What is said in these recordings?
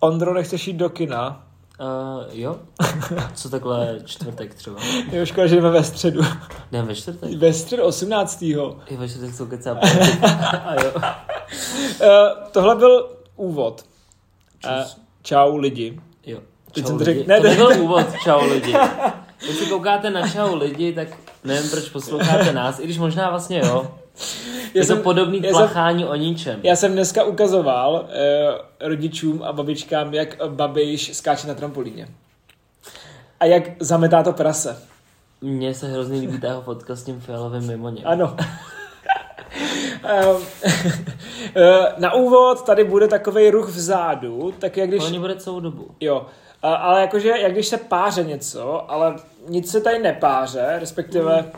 Ondro, nechceš jít do kina? Uh, jo, co takhle čtvrtek třeba? Je škoda, že jdeme ve středu. Ne, ve čtvrtek? Ve středu 18. I ve čtvrtek jsou kecá A jo. Eh, tohle byl úvod. Eh, Čus. čau lidi. Jo. Teď Čau jsem to lidi. řekl- ne, to ne, nebyl úvod, čau lidi. Když si koukáte na čau lidi, tak nevím, proč posloucháte nás, i když možná vlastně jo. Je to podobný já, jsem, tlachání o ničem. já jsem dneska ukazoval eh, rodičům a babičkám, jak babiš skáče na trampolíně. A jak zametá to prase. Mně se hrozně líbí ta jeho fotka s tím fialovým mimoněm. Ano. Ehm, eh, na úvod tady bude takový ruch vzadu, tak jak když... To Oni bude celou dobu. Jo, a, ale jakože, jak když se páře něco, ale nic se tady nepáře, respektive mm. uh,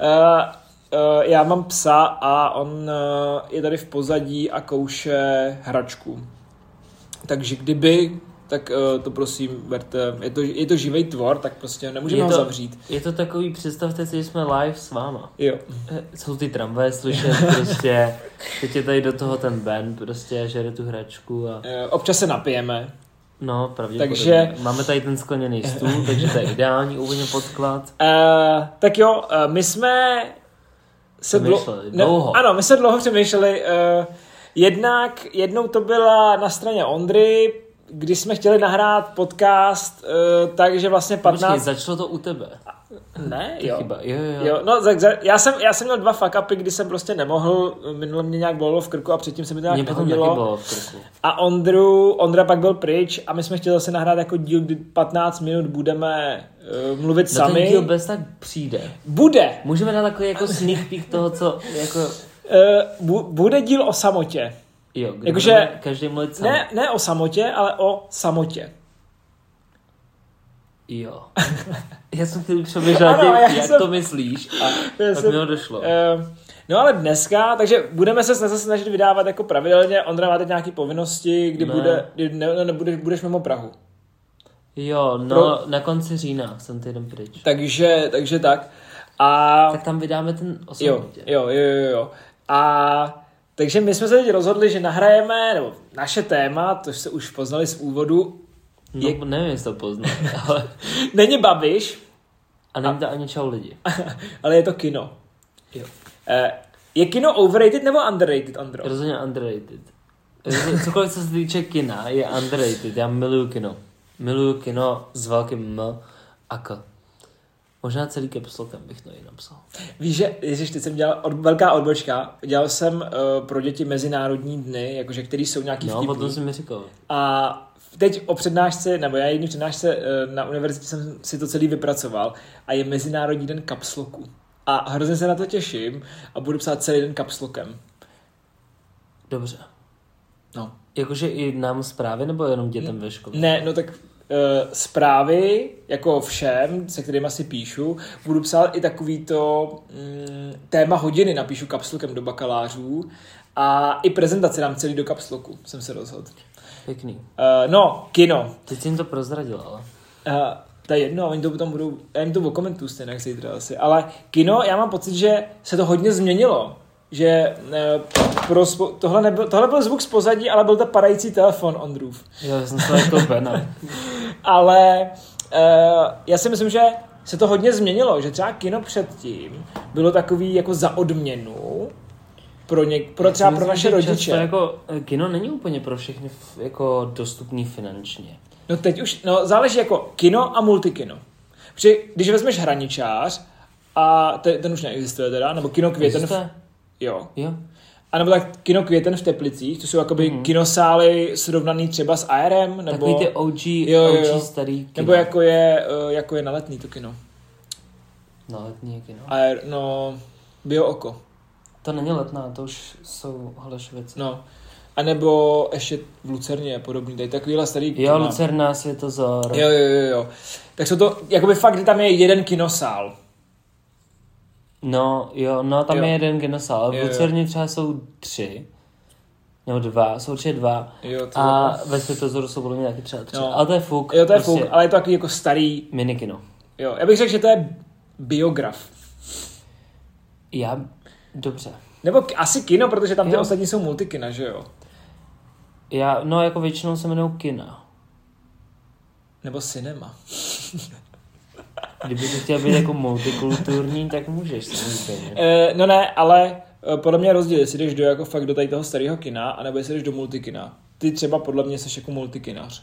uh, já mám psa a on uh, je tady v pozadí a kouše hračku. Takže kdyby, tak uh, to prosím berte, je to, je to živý tvor, tak prostě nemůžeme Je ho to- zavřít. Je to takový, představte si, že jsme live s váma. Jo. Eh, Jsou ty tramvaje slyšet prostě, teď je tady do toho ten Ben prostě, žere tu hračku a Eh, Občas se napijeme. no pravděpodobně. Takže- Máme tady ten skleněný stůl, takže to je ideální úplně podklad. Uh, tak jo, uh, my jsme se Přemýšleli dlouho. ano, my se dlouho přemýšleli. Uh, jednak jednou to byla na straně Ondry, kdy jsme chtěli nahrát podcast, uh, takže vlastně Počkej, 15... začalo to u tebe. ne, Jo. jo. Chyba. Jo, jo, jo. Jo, no, tak za, já, jsem, já jsem měl dva fuck upy, kdy jsem prostě nemohl, minule mě nějak bolelo v krku a předtím se mi to Mě nějak potom taky nehodilo. bylo v krku. A Ondru, Ondra pak byl pryč a my jsme chtěli zase nahrát jako díl, kdy 15 minut budeme uh, mluvit No ten sami. díl bez tak přijde. Bude, Můžeme dát takový jako sneak peek toho, co jako... Eh, bu- bude díl o samotě. Jo, kde Jakože- budeme každý mluvit sám. Ne, ne o samotě, ale o samotě. Jo. Já jsem chtěl přemýšlet, Ano, já jak, jak jsem- to myslíš a Já tak jsem- mi ho došlo. Eh, No ale dneska, takže budeme se zase snažit vydávat jako pravidelně. Ondra má teď nějaké povinnosti, kdy, Ne. bude, kdy ne, ne, nebudeš, budeš mimo Prahu. Jo, no Pro- na konci října jsem týden pryč. Takže, takže tak. A Tak tam vydáme ten jo, osobnitě. jo, jo, jo, jo. A takže my jsme se teď rozhodli, že nahrajeme, nebo naše téma, to jste už poznali z úvodu, No, nevím, jestli to poznal, ale... není Babiš, A není to ani čau lidi. ale je to kino. Jo. Eh, Je kino overrated nebo underrated, Ondro? Rozhodně underrated. Rozhodně- Cokoliv, co se týče kina, je underrated. Já miluju kino. Miluju kino s velkým M a K. Možná celý capslokem bych to i napsal. Víš, že ježiš, teď jsem dělal od, velká odbočka, dělal jsem uh, pro děti mezinárodní dny, jakože který jsou nějaký No, no, o tom vtipný. jsi mi říkal. A teď o přednášce, nebo já jedné přednášce uh, na univerzitě jsem si to celý vypracoval a je mezinárodní den kapsloku. A hrozně se na to těším a budu psát celý den kapslokem. Dobře. No. Jakože i nám zprávy, nebo jenom dětem ve škole? Ne, no tak uh, zprávy, jako všem, se kterými si píšu, budu psát i takový to mm, téma hodiny, napíšu kapslokem do bakalářů a i prezentaci dám celý do kapsloku, jsem se rozhodl. Pěkný. Uh, no, kino. Teď jsi jim to prozradil, ale... Uh, to je jedno, oni to potom budou, já jim to okomentuju stejně jak zítra asi, ale kino, já mám pocit, že se to hodně změnilo, že uh, pro spo- tohle, nebyl, tohle byl zvuk z pozadí, ale byl to padající telefon on roof. Jo, já jsem se jako Bena. Ale uh, já si myslím, že se to hodně změnilo, že třeba kino předtím bylo takový jako za odměnu pro, něk, pro třeba pro Myslím, naše že Často rodiče. jako, eh, kino není úplně pro všechny f- jako dostupný finančně. No teď už, no záleží jako kino a multikino. Protože když vezmeš hraničář, a te, ten už neexistuje teda, nebo kino květen, v, Existuje? jo. Jo. A nebo tak kino květen v Teplicích, to jsou jakoby mm-hmm. kinosály srovnaný třeba s ARM, nebo... Mhm. Takový ty OG, Jo, jo, OG jo. starý kino. Nebo jako je, eh, jako je na letný to kino. No, letní kino. A je- no, bio oko. To není letná, to už jsou Holešovice. No. A nebo ještě v Lucerně je podobný, tady takovýhle starý Jo, kina. Lucerna, Světozor. Jo, jo, jo, jo. Tak jsou to, jakoby fakt, kdy tam je jeden kinosál. No, jo, no, tam Jo. je jeden kinosál. Jo, V jo. Lucerně třeba jsou tři. Nebo dva, jsou určitě dva. Jo, to A ve Světozoru jsou podle mě taky třeba tři. No. Ale to je fuk. jo, to je prostě fuk, ale je to takový jako starý, Minikino. jo. Já bych řekl, že to je biograf. Já, dobře. Nebo k- asi kino, protože tam ty Jo. ostatní jsou multikina, že jo? Já, no jako většinou se jmenou kina. Nebo cinema. Kdyby to chtěl být jako multikulturní, tak můžeš samozřejmě. E, no ne, ale e, podle mě je rozdíl, jestli jdeš do jako fakt do tady toho starého kina, anebo jestli jdeš do multikina. Ty třeba podle mě jsi jako multikinař.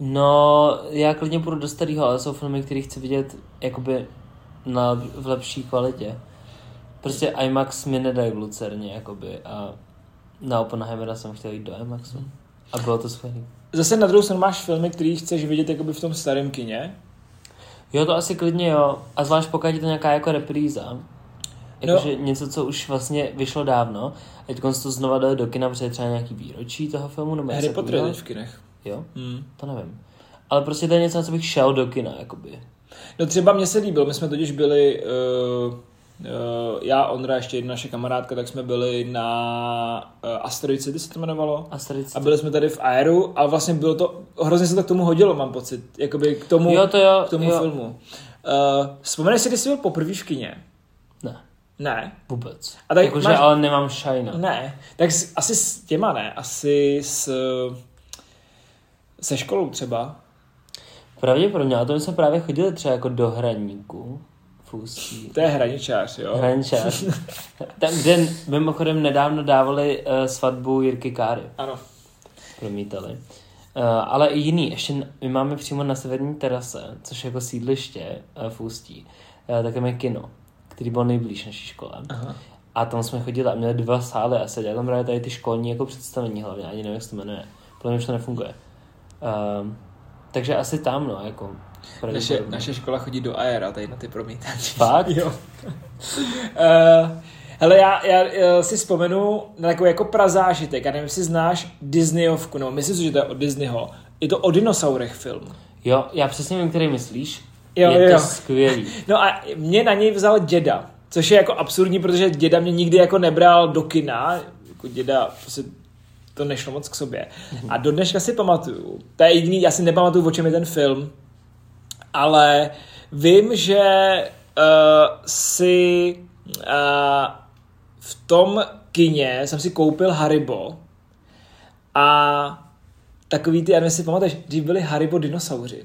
No, já klidně půjdu do starého, ale jsou filmy, které chci vidět jakoby na, v lepší kvalitě. Prostě IMAX mi nedají v Lucerně, jakoby, a na Oppenheimera jsem chtěl jít do IMAXu. A bylo to skvělé. Zase na druhou stranu máš filmy, který chceš vidět jakoby v tom starém kině. Jo, to asi klidně jo. A zvlášť pokud je to nějaká jako repríza. No. Jakože no. něco, co už vlastně vyšlo dávno. A teď to znova dali do kina, protože je třeba nějaký výročí toho filmu. Nebo Harry něco Potter je takového. teď v kinech. Jo, Hmm. to nevím. Ale prostě to je něco, na co bych šel do kina, jakoby. No třeba mně se líbil, my jsme totiž byli, uh, uh, já, Ondra, ještě jedna naše kamarádka, tak jsme byli na uh, Asteroid City se to jmenovalo. A A starý byli jsme tady v Aeru a vlastně bylo to, hrozně se to k tomu hodilo, mám pocit, jakoby k tomu, Jo, to jo, k tomu jo. filmu. Uh, vzpomeneš si, kdy jsi byl poprvé v kině? Ne, Ne. vůbec. A A tak tak Jakože, máš- máš... ale nemám šajna. Ne. Tak s, asi s těma ne, asi s, se školou třeba. Pravděpodobně, a to my jsme právě chodili třeba jako do Hraníku. V Ústí. To je hraničář, jo. Hrančář. Tam, kde mimochodem nedávno dávali uh, svatbu Jirky Káry. Ano. promítali. Uh, ale i jiný, ještě n- my máme přímo na severní terase, což je jako sídliště uh, v Ústí, uh, tak tam je kino, který byl nejblíž naší škole. Aha. A tam jsme chodili a měli dva sály a seděli tam právě tady ty školní jako představení hlavně, ani nevím, jak se to jmenuje. Podle mě už to nefunguje. Uh, takže asi tam, no, jako. Naše, pravděpodobně. naše škola chodí do Aera tady na ty promítače. Fakt? Jo. Eh, Hele, já, já eh, si vzpomenu na takový jako prazážitek, já nevím, jestli znáš Disneyovku, no myslím si, že to je od Disneyho. Je to o dinosaurech film. Jo, já přesně vím, který myslíš. Jo, je jo, jo. to skvělý. No a mě na něj vzal děda, což je jako absurdní, protože děda mě nikdy jako nebral do kina, jako děda prostě to nešlo moc k sobě. A do dneška si pamatuju, to je jediný, já si nepamatuju, o čem je ten film, ale vím, že uh, si uh, v tom kině jsem si koupil Haribo a takový ty, já nevím, jestli si pamatuješ, dřív byly Haribo dinosauři.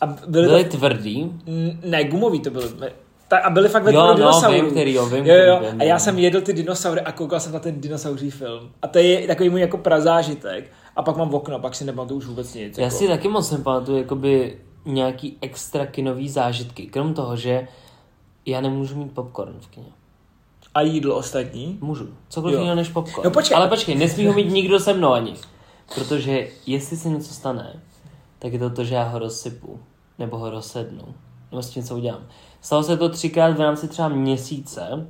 A byly, to Byli tvrdý, Mm, Ne, gumový to byl. Ta, a byli fakt ve Jo, tvaru no, dinosaurů. vím, který, jo, vím, jo, který, jo. vím, A já vím. jsem jedl ty dinosaury a koukal jsem na ten dinosauří film. A to je takový můj jako prazážitek. A pak mám okno, pak si nepamatuju už vůbec nic. Já jako. si taky moc nepamatuju jakoby nějaký extra kinový zážitky, krom toho, že já nemůžu mít popcorn v kině. A jídlo ostatní. Můžu. Cokoliv Jo. jiného než popcorn. No počkej. Ale počkej, nesmí ho mít nikdo se mnou ani. Protože jestli se něco stane, tak je to to, že já ho rozsypu. Nebo ho rozsednu. Nebo s tím, co udělám. Stalo se to třikrát v rámci třeba měsíce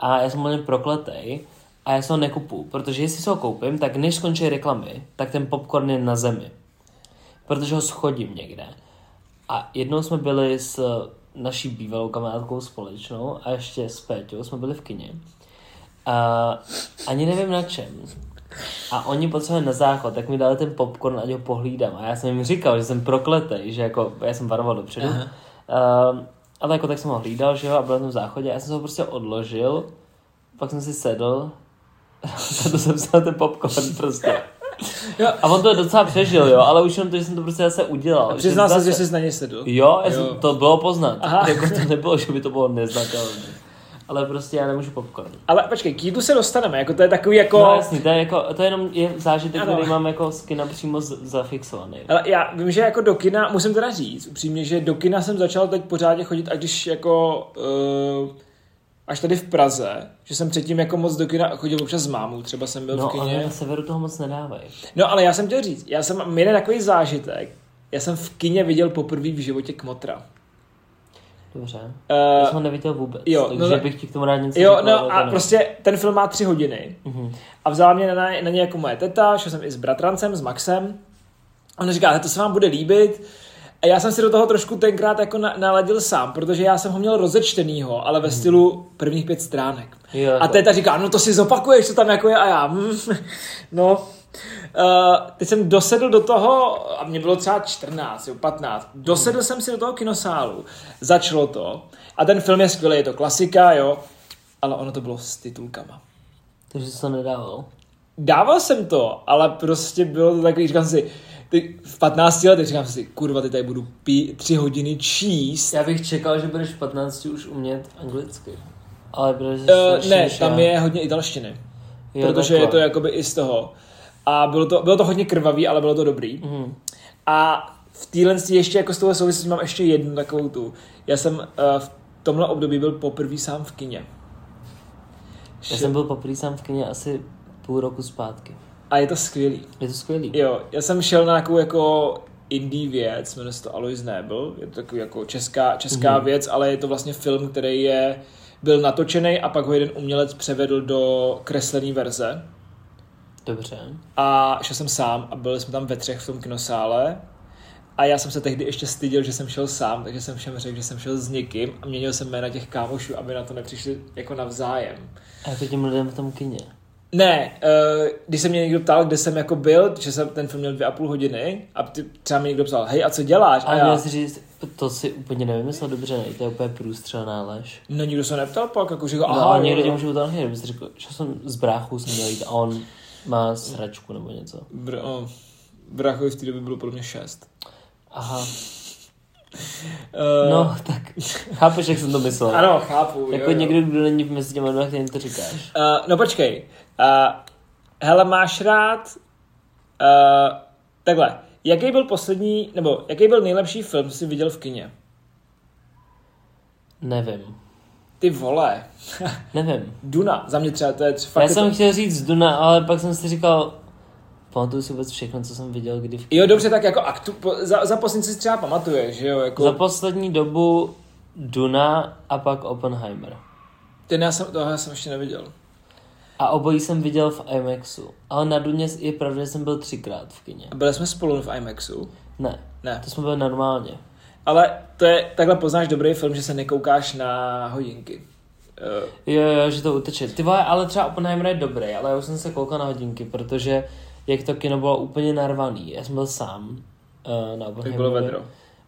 a já jsem úplně prokletej a já se ho nekupu, protože jestli se ho koupím, tak než skončí reklamy, tak ten popcorn je na zemi protože ho schodím někde. A jednou jsme byli s naší bývalou kamarádkou společnou a ještě s Péťou jsme byli v kině. A ani nevím na čem. A oni potřebovali na záchod, tak mi dali ten popcorn, ať ho pohlídám. A já jsem jim říkal, že jsem prokletej, že jako, já jsem varoval dopředu. Uh, ale jako tak jsem ho hlídal, že jo, a byl na tom záchodě. A já jsem se ho prostě odložil, pak jsem si sedl, a to jsem si dal ten popcorn prostě. Jo. A on to docela přežil, jo, ale už jenom to, že jsem to prostě zase udělal. A přiznal se, zase... že jsi na ně sedl. Jo, já Jo. Jsem, to bylo poznat. Aha. Jako to nebylo, že by to bylo neznatelné. Ale prostě já nemůžu popcorn. Ale počkej, k jídlu se dostaneme, jako to je takový jako... No jasný, to je, jako, to je jenom je zážitek, Ano. který mám jako z kina přímo z- zafixovaný. Ale já vím, že jako do kina, musím teda říct upřímně, že do kina jsem začal teď pořádně chodit, a když jako uh, až tady v Praze, že jsem předtím jako moc do kina chodil občas s mámou, třeba jsem byl v No, kině. ale na severu toho moc nedávají. No ale já jsem chtěl říct, já jsem, měl takový zážitek, já jsem v kině viděl poprvé v životě kmotra. Dobře. Já jsem Uh, ho neviděl vůbec, jo, jo, no takže tak- no, bych ti k tomu rád něco jo, řekl, ale no to a ne. prostě ten film má tři hodiny. Mhm. A vzala mě na, na ně jako moje teta, šel jsem i s bratrancem, s Maxem. A on říká, "Hele, to se vám bude líbit. A já jsem si do toho trošku tenkrát jako na, naladil sám, protože já jsem ho měl rozečtenýho, ale ve stylu prvních pět stránek. Jo, A jako- teta říká, no to si zopakuješ, co tam jako je a já, mm, no. Uh, teď jsem dosedl do toho, a mě bylo třeba 14, jo, 15, dosedl jsem si do toho kinosálu, začalo to a ten film je skvělý, je to klasika, jo, ale ono to bylo s titulkama. Takže jsi to nedával. dával jsem to, ale prostě bylo to takový, říkám si, ty, v 15 letech říkám si, kurva, ty tady budu pí, tři hodiny číst. Já bych čekal, že budeš v 15 už umět anglicky. Ale budeš Uh, ne, tam je hodně italštiny, protože je to jakoby i z toho. A bylo to, bylo to hodně krvavý, ale bylo to dobrý. Mhm. A v téhle stí ještě jako s touhle souvislostí mám ještě jednu takovou tu. Já jsem uh, v tomhle období byl poprvé sám v kině. Já jsem byl poprý sám v kyně asi půl roku zpátky. A je to skvělý. Je to skvělý. Jo, já jsem šel na nějakou jako indie věc, jmenuje se to Alois Nebel, je to takový jako česká, česká mm-hmm. věc, ale je to vlastně film, který je, byl natočený a pak ho jeden umělec převedl do kreslené verze. Dobře. A šel jsem sám a byli jsme tam ve třech v tom kinosále. A já jsem se tehdy ještě styděl, že jsem šel sám, takže jsem všem řekl, že jsem šel s někým a měnil jsem jména těch kámošů, aby na to nepřišli jako navzájem. A jako těm lidem v tom kyně. Ne, uh, když se mě někdo ptal, kde jsem jako byl, že jsem ten film měl dvě a půl hodiny a ty, třeba mi někdo psal, hej, a co děláš? A Ale měl já, jsi říct, to si úplně nevymyslel dobře, ne? To je úplně průstřelná lež. no nikdo se neptal pak, jako že Aha, no, aha, a někdo jo, tě jo. může utáhnout, kdyby jsi řekl, že jsem s bráchou jsem měl jít a on má sračku nebo něco. Br- oh, Brachovi v té době bylo podle mě šest. Aha, Uh, no tak, chápeš, jak jsem to myslel. Ano, chápu. jako někdo, kdo není mezi těma dvěma, kterým to říkáš. Uh, no počkej. Uh, hele, máš rád... Uh, takhle. Jaký byl poslední, nebo jaký byl nejlepší film, co jsi viděl v kině? Nevím. Ty vole. Nevím. Duna. Za mě třeba to je tři- fakt... Fakt Já je jsem to... chtěl říct Duna, ale pak jsem si říkal, pamatuju si vůbec všechno, co jsem viděl kdy v Jo, dobře, tak jako aktu... po- za, za poslední si třeba pamatuješ, že jo? Jako... Za poslední dobu Duna a pak Oppenheimer. Ten já jsem, toho já jsem ještě neviděl. A obojí jsem viděl v IMAXu. Ale na Duně je pravda, že jsem byl třikrát v kině. A byli jsme spolu v IMAXu? Ne, Ne. to jsme byli normálně. Ale to je, takhle poznáš dobrý film, že se nekoukáš na hodinky. Uh, Jo, jo, že to uteče. Ty vole, ale třeba Oppenheimer je dobrý, ale já už jsem se koukal na hodinky, protože jak to kino bylo úplně narvaný, já jsem byl sám uh, na tak Oppenheimeru. bylo vedro.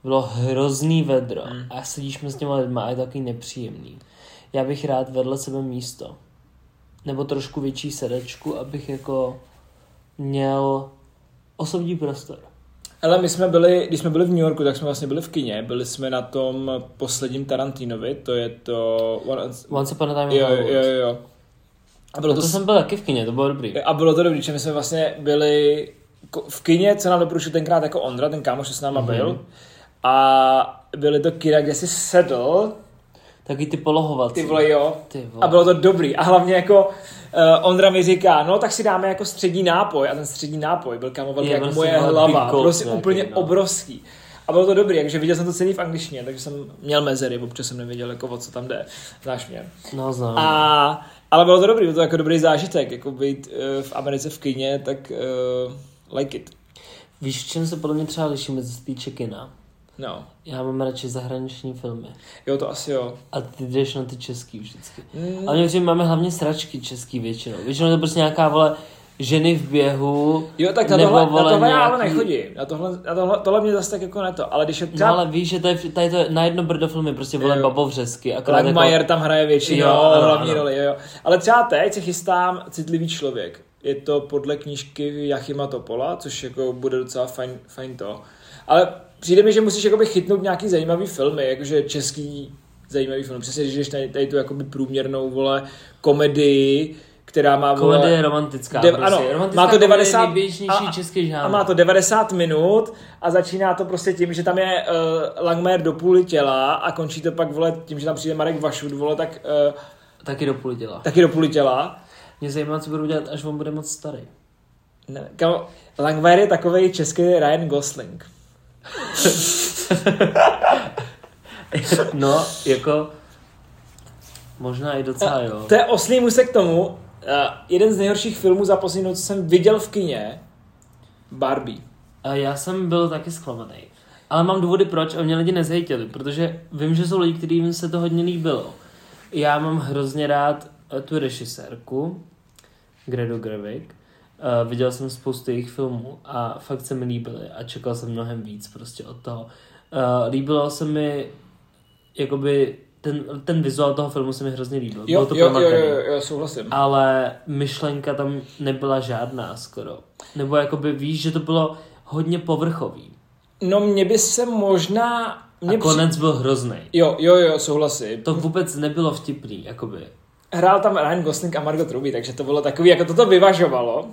Bylo hrozný vedro Hmm. a sedíš mezi těma lidma a je to takový nepříjemný. Já bych rád vedle sebe místo. Nebo trošku větší sedačku, abych jako měl osobní prostor. Ale my jsme byli, když jsme byli v New Yorku, tak jsme vlastně byli v kině, byli jsme na tom posledním Tarantinovi, to je to... Once... Once upon a time in Jo, jo, Hollywood. jo, jo. A bylo to, to, jsem byl taky v kině, to bylo dobrý. a bylo to dobrý, že my jsme vlastně byli ko- v kině, co nám doporučil tenkrát jako Ondra, ten kámoš, co s náma Mhm. byl. A byly to kina, kde jsi sedl, Taky ty polohovací. ty vole jo, Ty vole. a bylo to dobrý. A hlavně jako uh, Ondra mi říká, no tak si dáme jako střední nápoj. A ten střední nápoj byl kámo velký Je, jako prostě moje velký hlava. kout Prostě nějaký, úplně no. obrovský. A bylo to dobrý, takže viděl jsem to celý v angličtině, takže jsem měl mezery, občas jsem nevěděl, jako o co tam jde. Znáš mě. No, znám. A, ale bylo to dobrý, byl to jako dobrý zážitek, jako být uh, v Americe v kině, tak uh, like it. Víš, v čem se podle mě třeba lišíme, co se týče kina? No, Já mám radši zahraniční filmy. jo to asi jo. A ty jdeš na ty český vždycky. Mm. Mm. Ale my máme hlavně sračky český většinou. Většinou to je prostě nějaká, vole, ženy v běhu. Jo, tak na nebo, tohle, na vole, tohle já ale nějaký- nechodím. Na tohle, na tohle, tohle mě zase tak jako ne to. Ale když je No, třeba ale víš, že tady, tady to je na jedno brdo filmy, prostě vole Jo. babovřesky. Akorát jako, Langmajer tam hraje většinou Jo, ano, hlavní ano. roli, jo, jo. Ale třeba teď se chystám Citlivý člověk. Je to podle knížky Jachima Topola, což jako bude docela fajn, fajn to. Ale přijde mi, že musíš jakoby chytnout nějaký zajímavý filmy, jakože český zajímavý film. Přesně, když jdeš tady, tady tu jakoby průměrnou, vole, komedii, která má, vole... komedie je romantická. Dev- prostě. ano, romantická má to komedie je 90 nejběžnější a- český žánr. A má to 90 minut a začíná to prostě tím, že tam je uh, Langmajer do půli těla a končí to pak vole tím, že tam přijde Marek Vašud, vole, tak uh, Taky do půl děla. taky do půli těla. Mě zajímá, co budu dělat, až on bude moc starý. Ne, kam, Langmajer je takový český Ryan Gosling. No, jako... Možná i docela jo. To je oslý musek k tomu, uh, jeden z nejhorších filmů za poslední noc, co jsem viděl v kině, Barbie. A já jsem byl taky zklamaný. Ale mám důvody proč a mě lidi nezhejtili, protože vím, že jsou lidi, kterým se to hodně líbilo. Já mám hrozně rád eh, tu režisérku, Gredu Gerwig. Uh, viděl jsem spoustu jejich filmů a fakt se mi líbily a Eh, čekal jsem mnohem víc prostě od toho. Uh, líbilo se mi jakoby ten, ten vizuál toho filmu se mi hrozně líbil. Jo, Bylo to jo, jo, promakaný. jo, jo, souhlasím. Ale myšlenka tam nebyla žádná skoro. Nebo jakoby víš, že to bylo hodně povrchový. No mně by se možná... A Mě při... konec byl hrozný. Jo, jo, jo, souhlasím. To vůbec nebylo vtipný, jakoby. Hrál tam Ryan Gosling a Margot Robbie, takže to bylo takový, jako toto vyvažovalo.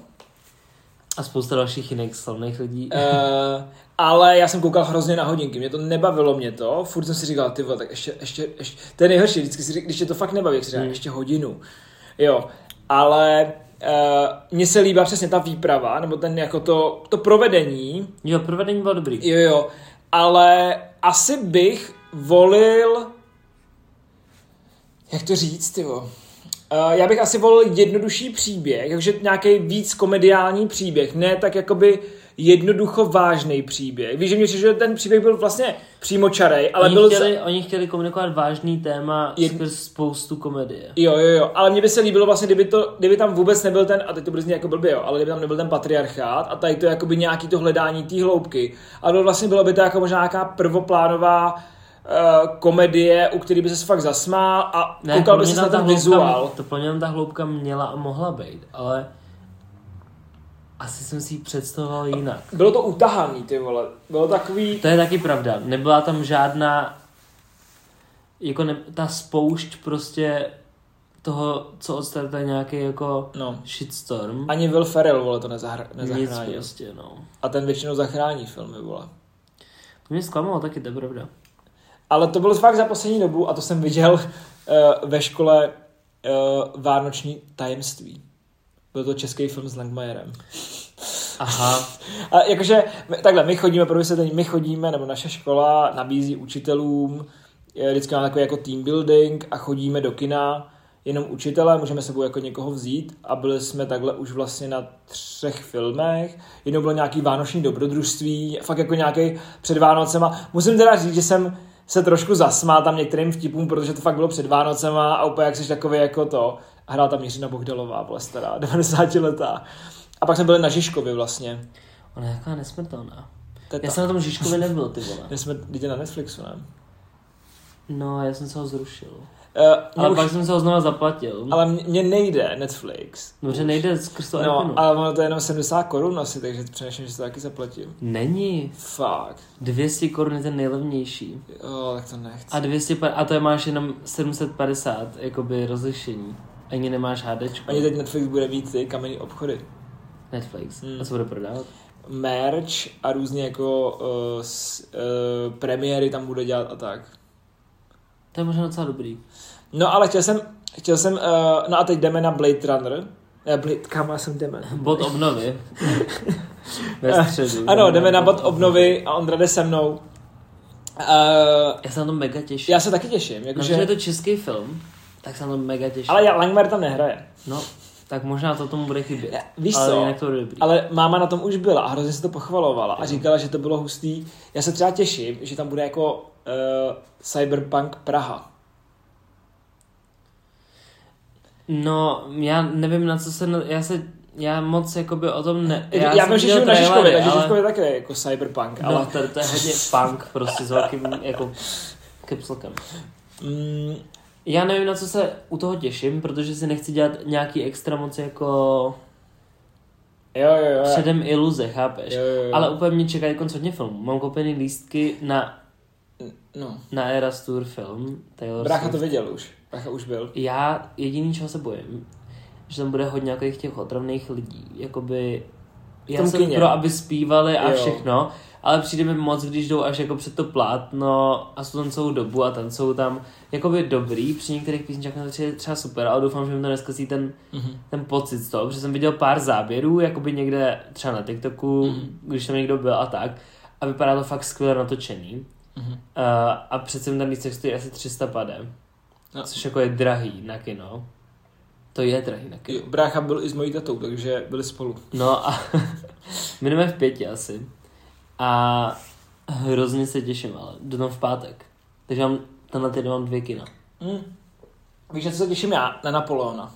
A spousta dalších jiných slavných lidí. Uh, ale já jsem koukal hrozně na hodinky, mě to nebavilo mě to, furt jsem si říkal, ty vole, tak ještě, ještě, ještě, to je nejhorší, vždycky si řík, když tě to fakt nebaví, jak si říkám, ještě hodinu, jo, ale uh, mně se líbá přesně ta výprava, nebo ten jako to, to provedení, Jo, provedení bylo dobrý. jo, jo, ale asi bych volil, jak to říct, ty vole, Uh, já bych asi volil jednodušší příběh, takže nějaký víc komediální příběh, ne tak jakoby jednoducho vážný příběh. Víš, že mě přišlo, že ten příběh byl vlastně přímočarej, ale Ale oni, byl... za- chtěli, oni chtěli komunikovat vážný téma Je- skrz spoustu komedie. Jo, jo, jo, ale mně by se líbilo vlastně, kdyby, to, kdyby tam vůbec nebyl ten, a teď to bude znít jako blbě, jo, ale kdyby tam nebyl ten patriarchát a tady to jakoby nějaký to hledání té hloubky. A to vlastně bylo by to jako možná nějaká prvoplánová uh, komedie, u který by se fakt zasmál a ne, koukal by pro se mě na tam ta ten hloubka- vizuál. To pro mě tam ta hloubka měla a mohla být, ale asi jsem si ji představoval jinak. Bylo to utahaný, ty vole. Bylo takový... To je taky pravda. Nebyla tam žádná jako ne, ta spoušť prostě toho, co odstartuje nějaký jako No. shitstorm. Ani Will Ferrell, vole, to nezahr- Nic nezachránil. prostě, no. A ten většinou zachrání filmy, vole. To mě zklamalo taky, to je pravda. Ale to bylo fakt za poslední dobu a to jsem viděl uh, ve škole uh, Vánoční tajemství. Byl to český film s Langmajerem. Aha, A jakože, my- takhle, my chodíme, pro vysvětlení, my chodíme, nebo naše škola nabízí učitelům, eh, vždycky máme takový jako team building a chodíme do kina jenom učitele, můžeme sebou jako někoho vzít a byli jsme takhle už vlastně na třech filmech. Jednou bylo nějaký vánoční dobrodružství, fakt jako nějaký před Vánocema. Musím teda říct, že jsem se trošku zasmál tam některým vtipům, protože to fakt bylo před Vánocema a úplně jak jsi takový jako to. A hrála tam Jiřina Bohdalová, byla stará, 90 letá. A pak jsme byli na Žižkovi vlastně. ona je taková nesmrtelná. Teta. Já jsem na tom Žižkovi nebyl, ty vole. My jsme lidi na Netflixu, ne? No, já jsem se ho zrušil. Uh, Ale ale, pak už, jsem se ho znovu zaplatil. ale mě, mě nejde Netflix. Dobře, nejde skrz to No, no, ale ono to je jenom 70 korun asi, takže přemýšlím, že to taky zaplatím. Není. Fuck. 200 korun je ten nejlevnější. Jo, tak to nechci. A, 200, a to je máš jenom 750 jakoby rozlišení. Ani nemáš HDčko. Ani teď Netflix bude mít ty kamenný obchody. Netflix. Hmm. A co bude prodávat? Merch a různě jako uh, s, uh, premiéry tam bude dělat a tak. To je možná docela dobrý. No ale chtěl jsem, chtěl jsem, uh, no a teď jdeme na Blade Runner. Ne, Blade, kam já jsem jdeme? Bod obnovy. Eh, Ve středu. Ano, jdeme na bod obnovy a Ondra jde se mnou. Uh, Já se na to mega těším. já se taky těším, no, jakože... že je to český film, tak se na to mega těším. Ale já, Langmar tam nehraje. No, tak možná to tomu bude chybět. Já- víš ale co? jinak to bude dobrý. Ale máma na tom už byla a hrozně se to pochvalovala a říkala, že to bylo hustý. Já se třeba těším, že tam bude jako uh, Cyberpunk Praha. No, já nevím, na co se... na- Já se... Já moc jakoby o tom ne... Já, já jsem vím, že viděl žiju na Žižkově, trailery, takže ale- Žižkově také je jako Cyberpunk, No, ale... ale to, to je hodně punk prostě s velkým jako kepslkem. Mm, Já nevím, na co se u toho těším, protože si nechci dělat nějaký extra moc jako jo, jo, jo. předem iluze, chápeš? Jo, jo, jo. Ale úplně mě čekají konc hodně filmů. Mám koupený lístky na, No, na Eras Tour film. Taylor brácha to Swift. viděl už. Brácha už byl. Já jediný, čeho se bojím, že tam bude hodně nějakých těch otravných lidí. Jakoby V já tom jsem kyně. pro, aby zpívali a Jo. jo. všechno, ale přijde mi moc, když jdou až jako před to plátno a jsou tam celou dobu a tancou tam jakoby dobrý, při některých písničkách mi to přijde třeba super, ale doufám, že mi to neskazí ten, Mhm. ten pocit z toho, protože jsem viděl pár záběrů, jakoby někde třeba na TikToku, Mhm. když tam někdo byl a tak, a vypadá to fakt skvěle natočený. Mhm. Uh, a přece jen ten lístek stojí asi 300 padem, No. což jako je drahý na kino. To je drahý na kino. Jo, Brácha byl i s mojí tatou, takže byli spolu. No a my jdeme v pěti asi. A hrozně se těším, ale jdu tam v pátek. Takže mám, tenhle týden mám dvě kina. Mm. Víš, na co se těším já? Na Napoleona.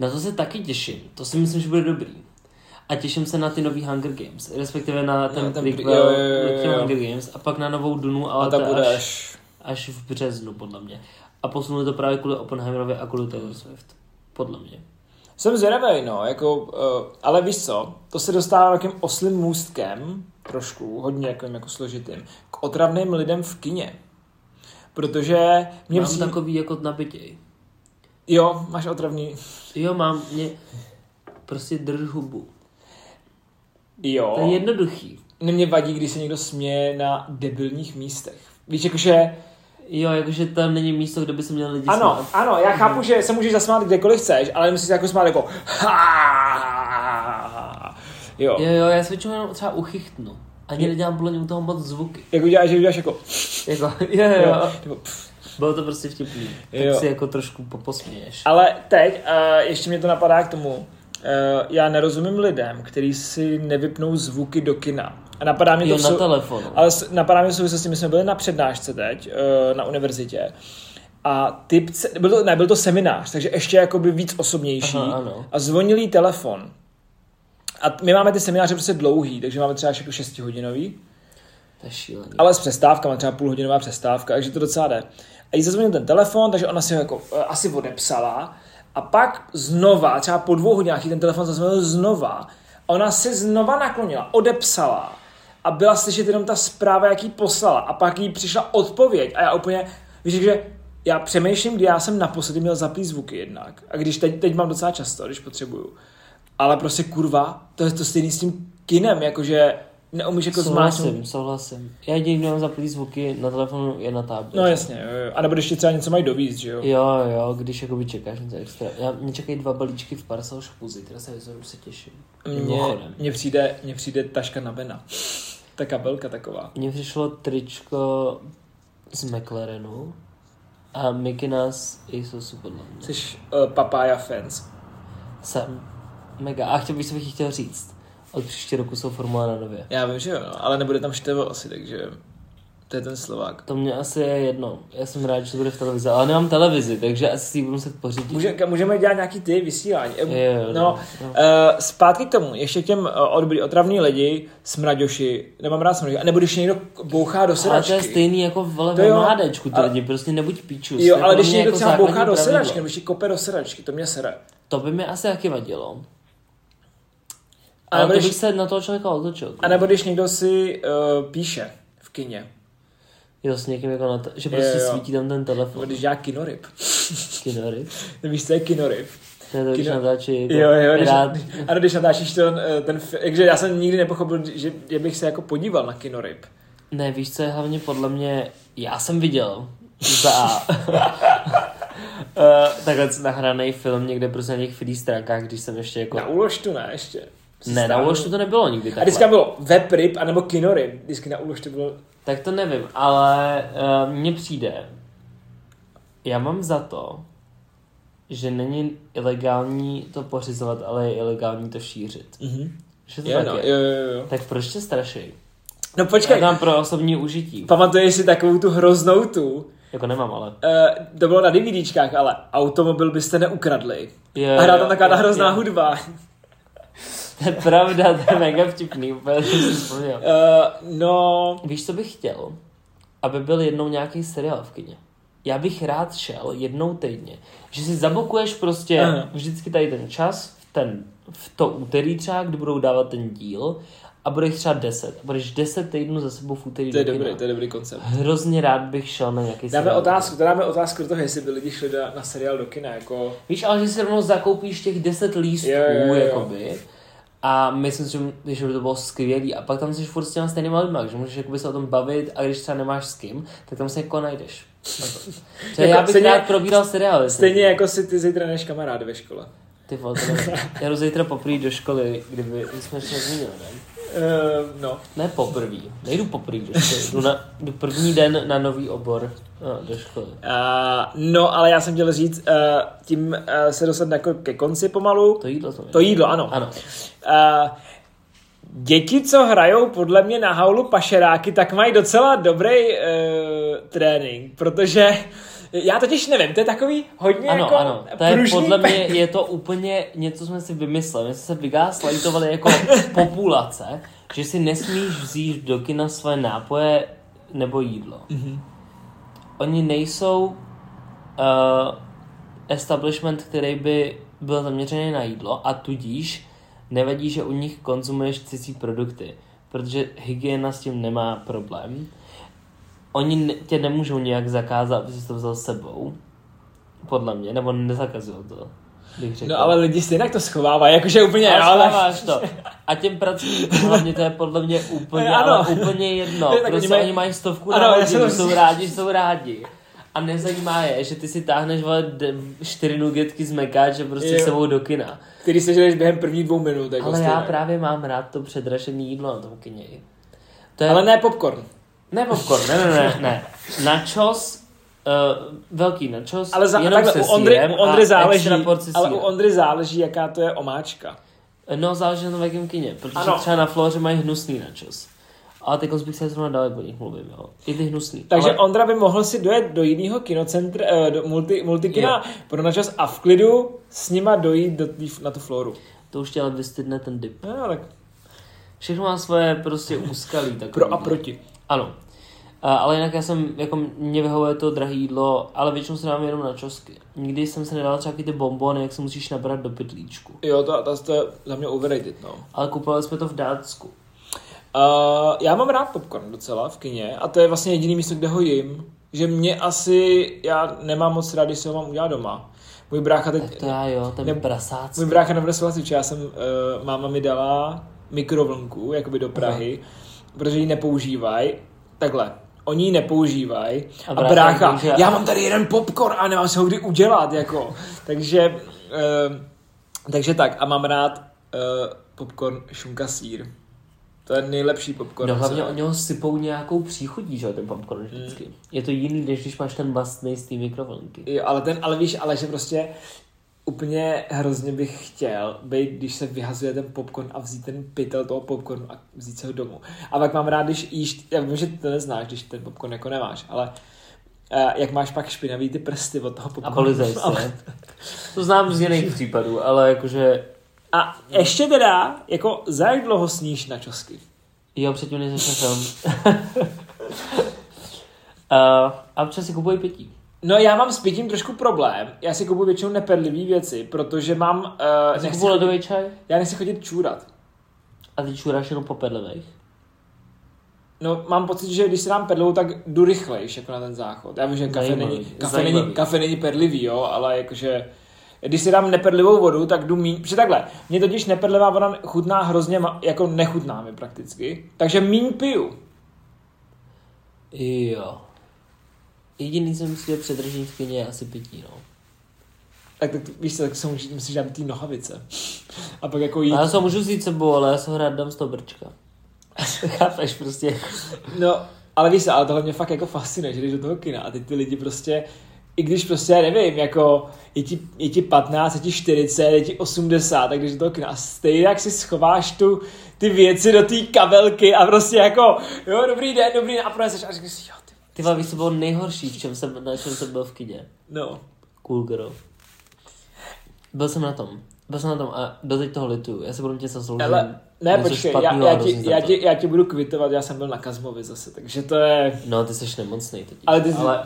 Na to se taky těším, to si myslím, že bude dobrý. A těším se na ty nový Hunger Games, respektive na ten, ten ten pre- prequel jo, jo, jo, k těm jo. Hunger Games a pak na novou Dunu, ale A ta to je bude až, až... až v březnu, podle mě. A posunuli to právě kvůli Oppenheimerovi a kvůli Taylor Swift. Podle mě. Jsem zvědavý, no, jako, uh, ale víš co, to se dostává takým oslým můstkem, trošku, hodně jako, jako složitým, k otravným lidem v kině. Protože mě Mám přijde... Tako... takový jako nabitěj. Jo, máš otravný... Jo, mám, mě prostě drž hubu. Jo. To je jednoduchý. Mně vadí, když se někdo směje na debilních místech. Víš, jakože... Jo, jakože tam není místo, kde by se měl lidi Ano, smát. ano, já chápu, že se můžeš zasmát kdekoliv chceš, ale musíš se jako smát jako... "Ha!" Jo. Jo, jo, já se většinou jenom třeba uchychtnu. Ani nedělám podle něj toho moc zvuky. Jako děláš, že uděláš jako... Jako, jo, jo, jo. Nebo, pff. Bylo to prostě vtipný. Tak Jo. jo. si jako trošku poposměješ. Ale teď, uh, ještě mě to napadá k tomu, uh, já nerozumím lidem, kteří si nevypnou zvuky do kina. A napadá mě to Jo, v na sou- telefonu. Ale s- napadá mě v souvislosti, my jsme byli na přednášce teď eh, na univerzitě. A typ, se- byl to, ne, byl to seminář, takže ještě jakoby víc osobnější. Aha, ano. A zvonil jí telefon. A t- my máme ty semináře prostě dlouhý, takže máme třeba až jako 6 hodinový, To je šílený. ale s přestávkama, třeba půlhodinová přestávka, takže to docela jde. A jí zazvonil ten telefon, takže ona si ho jako, eh, asi odepsala. A pak znova, třeba po dvou hodinách, jí ten telefon zazvonil znova. A ona se znova naklonila, odepsala. A byla slyšet jenom ta zpráva, jak jí poslala. A pak jí přišla odpověď. A já úplně, víš, že já přemýšlím, kdy já jsem naposledy měl zaplý zvuky jednak. A když teď, teď mám docela často, když potřebuju. Ale prostě kurva, to je to stejný s tím kinem, jakože neumíš jako zmáčnout Souhlasím, souhlasím. Já jediný, kdo mám zaplý zvuky na telefonu, je na tablet. No jasně, jo, jo. a nebo když ti třeba něco mají dovíz, že jo? Jo, jo, když jakoby čekáš něco extra. Já, mě čekají dva balíčky v Parcel Shopu, zítra se vyzvedu, se těším. Mně, Mimochodem. mně, přijde, mně přijde taška na Bena. Ta kabelka taková. Mně přišlo tričko z McLarenu a Mikinas Isusu podle mě. Jsi uh, papája fans. Jsem mega. A chtěl bych, co bych jí chtěl říct. Od příští roku jsou formule na nově. Já vím, že jo, no, ale nebude tam števo asi, takže to je ten Slovák. To mě asi je jedno. Já jsem rád, že to bude v televizi, ale nemám televizi, takže asi si ji budu muset pořídit. Může, ka- můžeme dělat nějaký ty vysílání. Jo, jo, no, jo. eh, zpátky k tomu, ještě k těm uh, odbyli otravní lidi, smraďoši, nemám rád smraďoši, a nebo když někdo k- bouchá do Ale to je sedačky. stejný jako vole To ve jo, mládečku, ty ale- lidi, prostě nebuď píčus. To Jo, je ale pro když mě někdo jako třeba bouchá základní do pravidlo. sedačky, nebo když ti kope do sedačky, to mě sere. To by mi asi taky vadilo. A Ale, nebo to když- bych se na toho člověka otočil. jako. A nebo když někdo si uh, píše v kině, Jo, s někým jako na to, že prostě Jo, jo. svítí tam ten nebo telefon. když dělá kinoryb. Kinory. Víš, co je kinoryb? To je to, když Kino- natáčí jako Jo, jo, když, pirát. ano, když natáčíš ten, eh, ten fi- takže já jsem nikdy nepochopil, že, že bych se jako podíval na kinoryb. Ne, víš, co je hlavně podle mě, já jsem viděl za A. Eh, takhle nahraný film někde prostě na těch free stránkách, když jsem ještě jako... Na úložtu ne, ještě. ne, na Wallstreetu to nebylo nikdy A takhle. vždycky tam bylo webryb, anebo kinoryb. Vždycky na úložtu bylo... Tak to nevím, ale uh, mně přijde, já mám za to, že není ilegální to pořizovat, ale je ilegální to šířit. Mhm. Že to Jo, tak no, je. jo, jo, jo. Tak proč tě straší? No Já počkej, tam pro osobní užití. pamatuješ si takovou tu hroznou tu? Jako nemám, ale. Eh, to bylo na DVDčkách, ale automobil byste neukradli. Jo, A hrála jo, tam taková jo, hrozná jo. hudba. To je pravda, to je mega vtipný, úplně jsem si vzpomněl. Eh, no, Víš, co bych chtěl? Aby byl jednou nějaký seriál v kyně. Já bych rád šel jednou týdně. Že si zabokuješ prostě Aha. vždycky tady ten čas, v, ten, v to úterý třeba, kdy budou dávat ten díl a bude jich třeba 10. A budeš 10 týdnů za sebou v úterý to je do kina. dobrý, to je dobrý koncept. Hrozně rád bych šel na nějaký Dáme seriál. otázku, to dáme otázku do toho, jestli by lidi šli na, na seriál do kina, jako... Víš, ale že si rovnou zakoupíš těch 10 lístků, Jo, jo, jo. jakoby. A myslím si, že- že by to bylo skvělý. A pak tam jsi furt s těma stejnýma lidma, že můžeš jakoby se o tom bavit a když třeba nemáš s kým, tak tam se jako najdeš. To je, Jako já bych stejně- rád probíral seriály. Stejně jako si ty zítra než kamarády ve škole. Ty vole, to nevím. Já jdu zítra poprvé do školy, kdyby my jsme ještě nezmínili, ne? Uh, no. Ne poprvý, nejdu poprvé do školy, jdu, na, jdu první den na nový obor no, do školy. Uh, no, ale já jsem chtěl říct, uh, tím uh, se dostat jako ke konci pomalu. To jídlo to je. To jídlo, ano. Ano. Uh, děti, co hrajou podle mě na haulu pašeráky, tak mají docela dobrý uh, trénink, protože já totiž nevím, to je takový hodně Ano, jako ano, to je, pružný podle mě pe- je to úplně něco, jsme si vymysleli. My jsme se vygáslajtovali jako populace, že Mhm. si nesmíš vzít do kina své nápoje nebo jídlo. Mm-hmm. oni nejsou uh, establishment, který by byl zaměřený na jídlo a tudíž nevadí, že u nich konzumuješ cizí produkty, protože hygiena s tím nemá problém. Oni ne- tě nemůžou nějak zakázat, aby jsi to vzal s sebou, podle mě, nebo nezakazují to, bych řekl. No ale lidi stejně to schovávají, jakože úplně, Ale ale... schováváš to. A těm pracovníkům hlavně to je podle mě úplně, Ano. ale úplně jedno. Tak oni Prostě mají- oni mají stovku Ano, na já hodinu, jsem to jsou myslel. rádi, že jsou rádi. A nezajímá je, že ty si táhneš vole, d- čtyři nugetky z mekáče prostě Jo. s sebou do kina. Který se žereš během prvních dvou minut, jako Ale já stejně. právě mám rád to předražené jídlo na tom kině. To je... Ale ne popcorn. ne popcorn, ne, ne, ne, ne. Nachos, uh, velký nachos, Ale za, jenom takhle, se u Ondry, sírem u Ondry a záleží, extra porci ale u síra. Ondry záleží, jaká to je omáčka. No, záleží na tom, v jakém kině, protože ano. Ano. třeba na Floře mají hnusný načos. Ale teď bych se zrovna dal, o nich mluvím, jo. I ty hnusný. Takže ale, ale... Ondra by mohl si dojet do jiného kinocentra, eh, do multi, multikina pro načas a v klidu s nima dojít do tý, na tu floru. To už tě ale vystydne ten dip. No, no, tak Všechno má svoje prostě úskalí. Takový. pro a proti. Ano. A, ale jinak já jsem, jako mě vyhovuje to drahé jídlo, ale většinou se dám jenom na čosky. Nikdy jsem se nedal třeba taky ty bombony, jak se musíš nabrat do pytlíčku. Jo, to, to, to je za mě overrated, no. Ale kupovali jsme to v Dátsku. Uh, já mám rád popcorn docela v kině a to je vlastně jediný místo, kde ho jím. Že mě asi, já nemám moc rád, když se ho mám udělat doma. Můj brácha teď, To já jo, ten Ne- prasác. Můj brácha nebude souhlasit, protože já jsem, uh, máma mi dala mikrovlnku, jakoby do Prahy, protože ji nepoužívají. Takhle, oni ji nepoužívají A a, brácha a brácha, může- já mám tady jeden popcorn a nemám se ho kdy udělat, jako. takže, uh, takže tak, a mám rád uh, popcorn šunka sír. To je nejlepší popcorn. No co- hlavně oni ho sypou nějakou příchutí, že jo, ten popcorn vždycky. Je to jiný, než když máš ten bastný z té mikrovlnky. Jo, ale ten, ale víš, ale že prostě úplně hrozně bych chtěl být, když se vyhazuje ten popcorn a vzít ten pytel toho popcornu a vzít se ho domů. A pak mám rád, když jíš, já vím, že ty to neznáš, když ten popcorn jako nemáš, ale eh, jak máš pak špinavý ty prsty od toho A popcornu. polizej se. To znám z jiných případů, ale jakože... A ještě teda, jako za jak dlouho sníš na čosky? Jo, předtím než začne film. a, a občas si kupuji pití. No já mám s pitím trošku problém. Já si kupuji většinou neperlivý věci, protože mám... Uh, Si nechci, kupuji ledový čaj já nechci chodit čůrat. a ty čuráš jenom po pedlevech. No, mám pocit, že když si dám perlou, tak jdu rychlejš jako na ten záchod. Já vím, že kafe Zajímavý, není, kafe, zajímavý. není, kafe není perlivý, jo, ale jakože... Když si dám neperlivou vodu, tak jdu míň... Protože takhle, mě totiž neperlivá voda chutná hrozně, ma- jako nechutná mi prakticky. Takže míň piju. Jo. Jediný, co mi přijde předržení v kyně, je asi pití, no. Tak, tak víš co, tak se musí, musíš dát ty nohavice. A pak jako jít... A já se ho můžu vzít sebou, ale já se ho rád dám z toho brčka. Chápeš prostě? No, ale víš, co, ale tohle mě fakt jako fascinuje, že jdeš do toho kina a ty ty lidi prostě, i když prostě, já nevím, jako je ti, je ti 15, je ti 40, je ti 80, tak jdeš do toho kina a stejně jak si schováš tu, ty věci do té kabelky a prostě jako, jo, dobrý den, dobrý den, a proneseš a říkáš si, jo, ty, Ty vole, víš, co bylo nejhorší, v čem jsem, na čem jsem byl v kyně? no. Cool girl. Byl jsem na tom. Byl jsem na tom a doteď toho lituju. Já se budu tě zasloužit. Ale, ne, počkej, já, já, ti, já, ti, já ti budu kvitovat, já jsem byl na Kazmovi zase, takže to je, No, ty jsi nemocný teď. ale ty jsi, ale...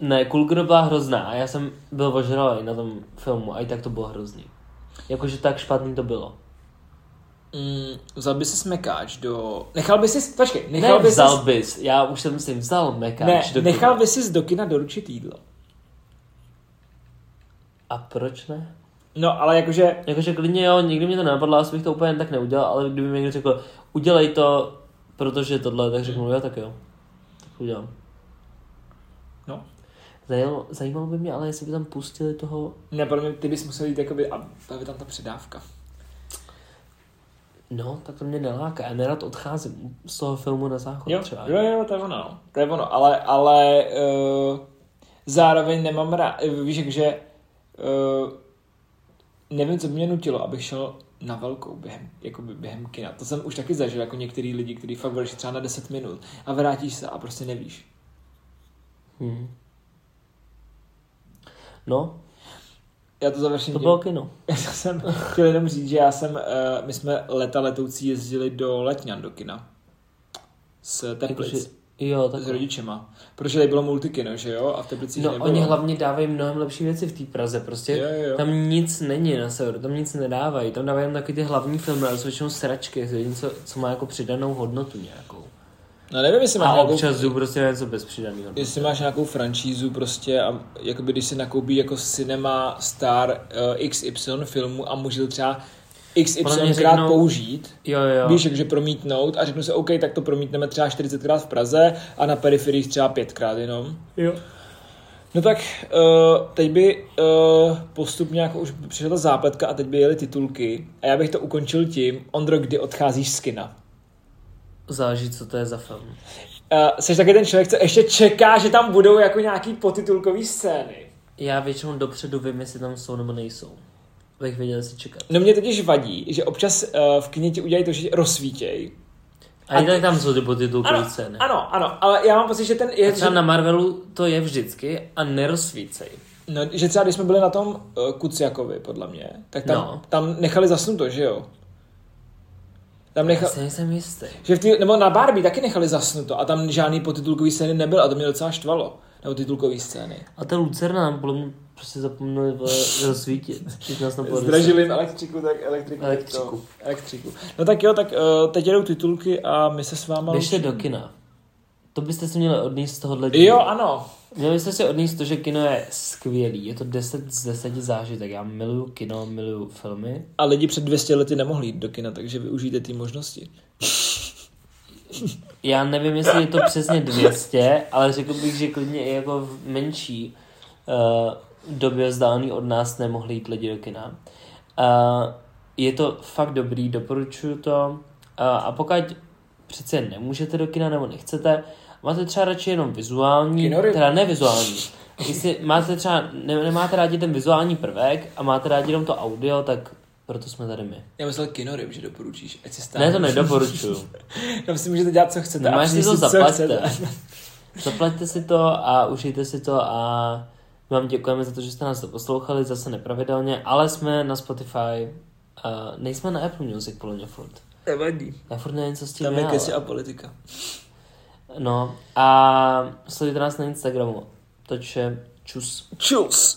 Ne, Cool Girl byla hrozná a já jsem byl ožralý na tom filmu a i tak to bylo hrozný. Jakože tak špatný to bylo. mm, vzal by si smekáč do, nechal by si, počkej, Nechal nechal ne, by si, vzal bys. Já už jsem si vzal mekáč ne, do nechal kina. by si do kina doručit jídlo. A proč ne? No, ale jakože, Jakože klidně jo, nikdy mě to nenapadlo, asi bych to úplně jen tak neudělal, ale kdyby mi někdo řekl, udělej to, protože tohle, tak řeknu, jo, tak jo. Tak udělám. no. Zajímalo, zajímalo by mě, ale jestli by tam pustili toho... Ne, podle mě ty bys musel jít, jakoby, a byla by tam ta předávka. Jako No, tak to mě neláká. Já nerad odcházím z toho filmu na záchod Jo, třeba. jo, jo, to je ono, no. To je ono, ale, ale uh, zároveň nemám rád, eh, víš, že uh, nevím, co by mě nutilo, abych šel na velkou během, jakoby během kina. To jsem už taky zažil, jako některý lidi, kteří fakt budeš třeba na 10 minut a vrátíš se a prostě nevíš. Hmm. No, Já to završím to tím- bylo kino. Já jsem chtěl jenom říct, že já jsem, eh, my jsme leta letoucí jezdili do Letňan do kina. Z Teplic. Jakože- Jo, tak s rodičema. Protože tady bylo multikino, že jo? A v Teplicích No, nebylo. oni hlavně dávají mnohem lepší věci v té Praze, prostě Jo, jo, jo. tam nic není na severu, tam nic nedávají, tam dávají jen taky ty hlavní filmy, ale jsou většinou sračky, jsou něco, co má jako přidanou hodnotu nějakou. No nevím, jestli máš A nějakou občas jdu prostě na něco bez přidaný hodnoty. Jestli máš nějakou franšízu prostě a jakoby když si nakoupí jako Cinema Star uh, XY filmu a může to třeba XY Podle mě krát řeknou- použít, Jo, jo, víš, jakože promítnout a řeknu si, OK, tak to promítneme třeba 40 krát v Praze a na periferiích třeba pětkrát jenom. jo. No tak uh, teď by uh, postupně jako už přišla ta zápletka a teď by jeli titulky a já bych to ukončil tím, Ondro, kdy odcházíš z kina? Záleží, co to je za film. Uh, jsi taky ten člověk, co ještě čeká, že tam budou jako nějaký potitulkový scény. Já většinou dopředu vím, jestli tam jsou nebo nejsou. Bych věděl, jestli čekat. No mě totiž vadí, že občas uh, v kyně ti udělají to, že tě rozsvítěj. A, i tak tam jsou ty potitulkové Ano, scény. ano, ano, ale já mám pocit, že ten je, A že, třeba na Marvelu to je vždycky a nerozsvícej. no, že třeba když jsme byli na tom uh, Kuciakovi, podle mě, tak tam, no. No. tam nechali zasnuto, že jo? Tam Já nechali, si nejsem jistý. že v tý, nebo na Barbie taky nechali zasnuto a tam žádný potitulkový scény nebyl a to mě docela štvalo, nebo titulkový scény. A ta Lucerna nám podle mě prostě zapomněli vole, rozsvítit. Teď nás napadlo, že- Zdražili jim elektriku, tak elektriku. tak Elektriku. to- elektriku. No tak jo, tak uh, teď jedou titulky a my se s váma... už- Běžte do kina. To byste si měli odníst z tohohle dílu. Jo, ano. Měli byste si odníst to, že kino je skvělý. Je to 10 z 10 zážitek. Já miluju kino, miluju filmy. A lidi před 200 lety nemohli jít do kina, takže využijte ty možnosti. Já nevím, jestli je to přesně 200, ale řekl bych, že klidně i jako v menší uh, době vzdálený od nás nemohli jít lidi do kina. Uh, je to fakt dobrý, doporučuju to. Uh, a pokud přece nemůžete do kina nebo nechcete, máte třeba radši jenom vizuální, Kinory. teda ne vizuální. Jestli máte třeba, ne, nemáte rádi ten vizuální prvek a máte rádi jenom to audio, tak proto jsme tady my. Já myslel kinoryb, že doporučíš, ať si stále. Ne, to nedoporučuju. Tam si můžete dělat, co chcete. Normálně si to přinést zaplaťte. Zaplaťte si to a užijte si to a my vám děkujeme za to, že jste nás to poslouchali, zase nepravidelně, ale jsme na Spotify, uh, nejsme na Apple Music podle mě furt. Nevadí. Já furt nevím, co s tím Tam je, je ale... kesi a politika. No a sledujte nás na Instagramu. Takže čus. Čus.